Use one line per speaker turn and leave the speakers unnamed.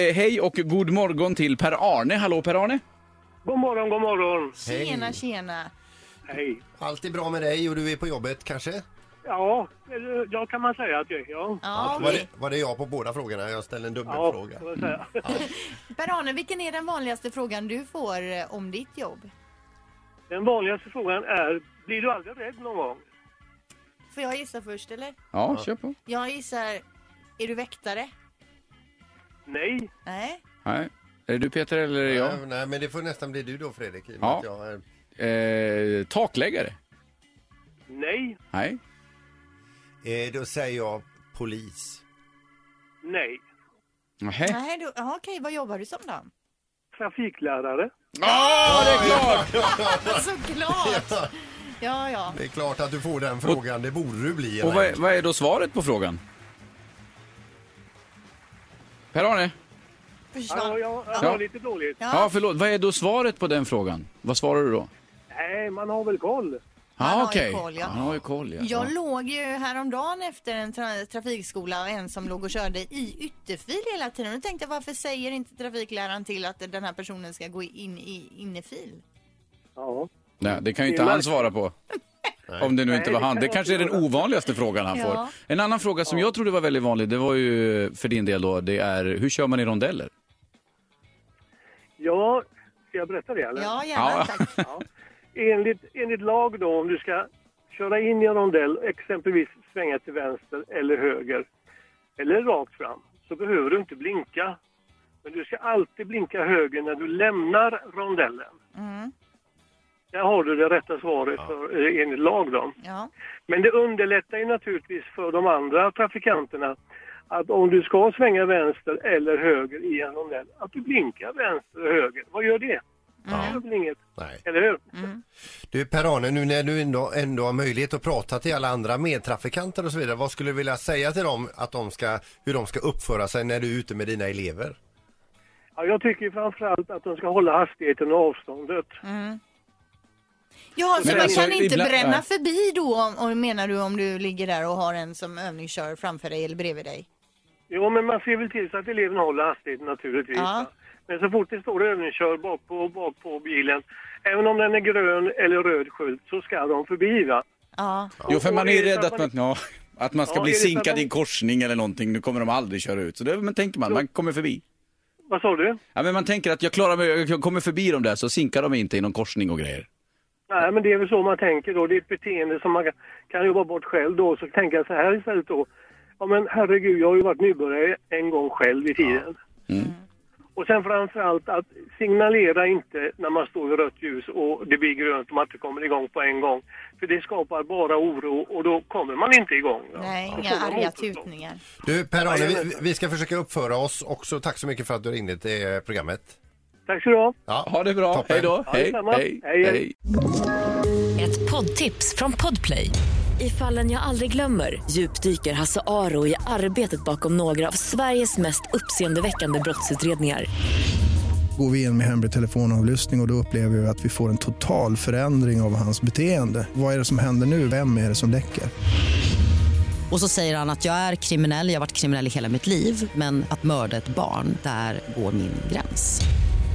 Eh, hej och god morgon till Per-Arne. Hallå Per-Arne!
God morgon, god morgon.
Tjena, tjena.
Hej.
Allt är bra med dig och du är på jobbet kanske?
Ja, eller, ja kan man säga att jag ja.
Ja,
Var
okej.
det, var det jag på båda frågorna? Jag ställde en
Ja,
dubbelfråga.
kan man säga.
Per-Arne, vilken är den vanligaste frågan du får eh, om ditt jobb?
Den vanligaste frågan är, blir du aldrig rädd någon gång?
Får jag gissa först eller?
Ja, kör på.
Jag gissar, är du väktare?
Nej.
Nej.
Nej. Är det du Peter eller är det jag?
Nej, nej, men det får nästan bli du då Fredrik. i och med
Ja.
att Jag, är-
Eh, takläggare?
Nej.
Nej.
eh, då säger jag polis.
Nej.
Nähä.
Nej, du, ja, okej, vad jobbar du som då?
Trafiklärare?
Ah! Ja, det är klart!
Såklart! Ja, ja.
Det är klart att du får den frågan, det borde du bli.
Och
eller?
vad är, vad är då svaret på frågan? Per-Arne?
Ja,
Försvann.
jag, jag
Ja.
har lite dåligt.
Ja,
Ja,
förlåt. Vad är då svaret på den frågan? Vad svarar du då?
Nej, man har väl koll.
Han
Ah,
har ju
okej.
koll, ja.
Han har ju koll, ja.
jag låg ju häromdagen efter en tra- trafikskola och en som låg och körde i ytterfil hela tiden. Och då tänkte jag varför säger inte trafikläraren till att den här personen ska gå in i innefil?
Ja.
Nej, det kan ju inte han svara på. Om det nu inte var
Nej, det
han.
kan
Det
jag
kanske är
inte
den
göra.
ovanligaste frågan han får.
Ja.
En annan fråga som jag trodde var väldigt vanlig, det var ju för din del då, det är hur kör man i rondeller?
Ja, ska jag berätta det eller?
Ja, gärna
Ja.
tack.
Enligt, enligt lag då, om du ska köra in i en rondell, exempelvis svänga till vänster eller höger, eller rakt fram, så behöver du inte blinka. Men du ska alltid blinka höger när du lämnar rondellen.
Mm,
Där har du det rätta svaret för, eh, enligt lag då.
ja.
Men det underlättar ju naturligtvis för de andra trafikanterna att om du ska svänga vänster eller höger i en rondell, att du blinkar vänster och höger. Vad gör det? Det gör väl inget,
Nej.
eller hur?
Du Per-Arne, nu när du ändå, ändå har möjlighet att prata till alla andra medtrafikanter och så vidare, vad skulle du vilja säga till dem att de ska, hur de ska uppföra sig när du är ute med dina elever?
Ja, jag tycker framförallt att de ska hålla hastigheten och avståndet.
Ja, så
Men
man
alltså,
kan inte
ibland-
bränna
nej.
förbi då, om, om, menar du, om du ligger där och har en som övningskör framför dig eller bredvid dig?
Jo, men man ser väl till så att eleverna håller hastigheten naturligtvis.
Ja.
Men så fort det står övningskör bak på, bak på bilen, även om den är grön eller röd skylt, så ska de förbi va?
Ja,
Jo, för
Och
man är
är
ju
det
rädd
så
att
att
man,
man-
ja, att man ska
Ja,
bli
är det så att
sinkad
man-
i en korsning eller någonting, nu kommer de aldrig köra ut. Så det, men tänker man, man kommer förbi.
Vad sa du?
Ja, men man tänker att jag klarar mig, jag kommer förbi dem där så sinkar de inte i någon korsning och grejer.
Nej, men det är väl så man tänker då. Det är ett beteende som man kan- kan jobba bort själv då. Så tänker jag så här istället då. Ja, men herregud, jag har ju varit nybörjare en gång själv i tiden.
Mm.
Och sen framförallt att signalera inte när man står vid rött ljus och det blir grönt och man inte kommer igång på en gång. För det skapar bara oro och då kommer man inte igång. va?
nej,
Då
inga
får man
arga
motstånd.
tutningar.
Du Per-Arne, vi,
Jajamensan.
vi ska försöka uppföra oss också. Tack så mycket för att du ringde till eh, programmet.
Tack så du ha.
Ja,
Ha det bra,
toppen.
hej då,
Ja,
hej,
detsamma.
hej,
Hej, hej.
hej.
Ett poddtips från Podplay. I fallen jag aldrig glömmer djupdyker Hasse Aro i arbetet bakom några av Sveriges mest uppseendeväckande brottsutredningar.
går vi in med hemlig telefonavlyssning och, och då upplever vi att vi får en total förändring av hans beteende. Vad är det som händer nu? Vem är det som läcker?
Och så säger han att jag är kriminell, jag har varit kriminell i hela mitt liv men att mörda ett barn, där går min gräns.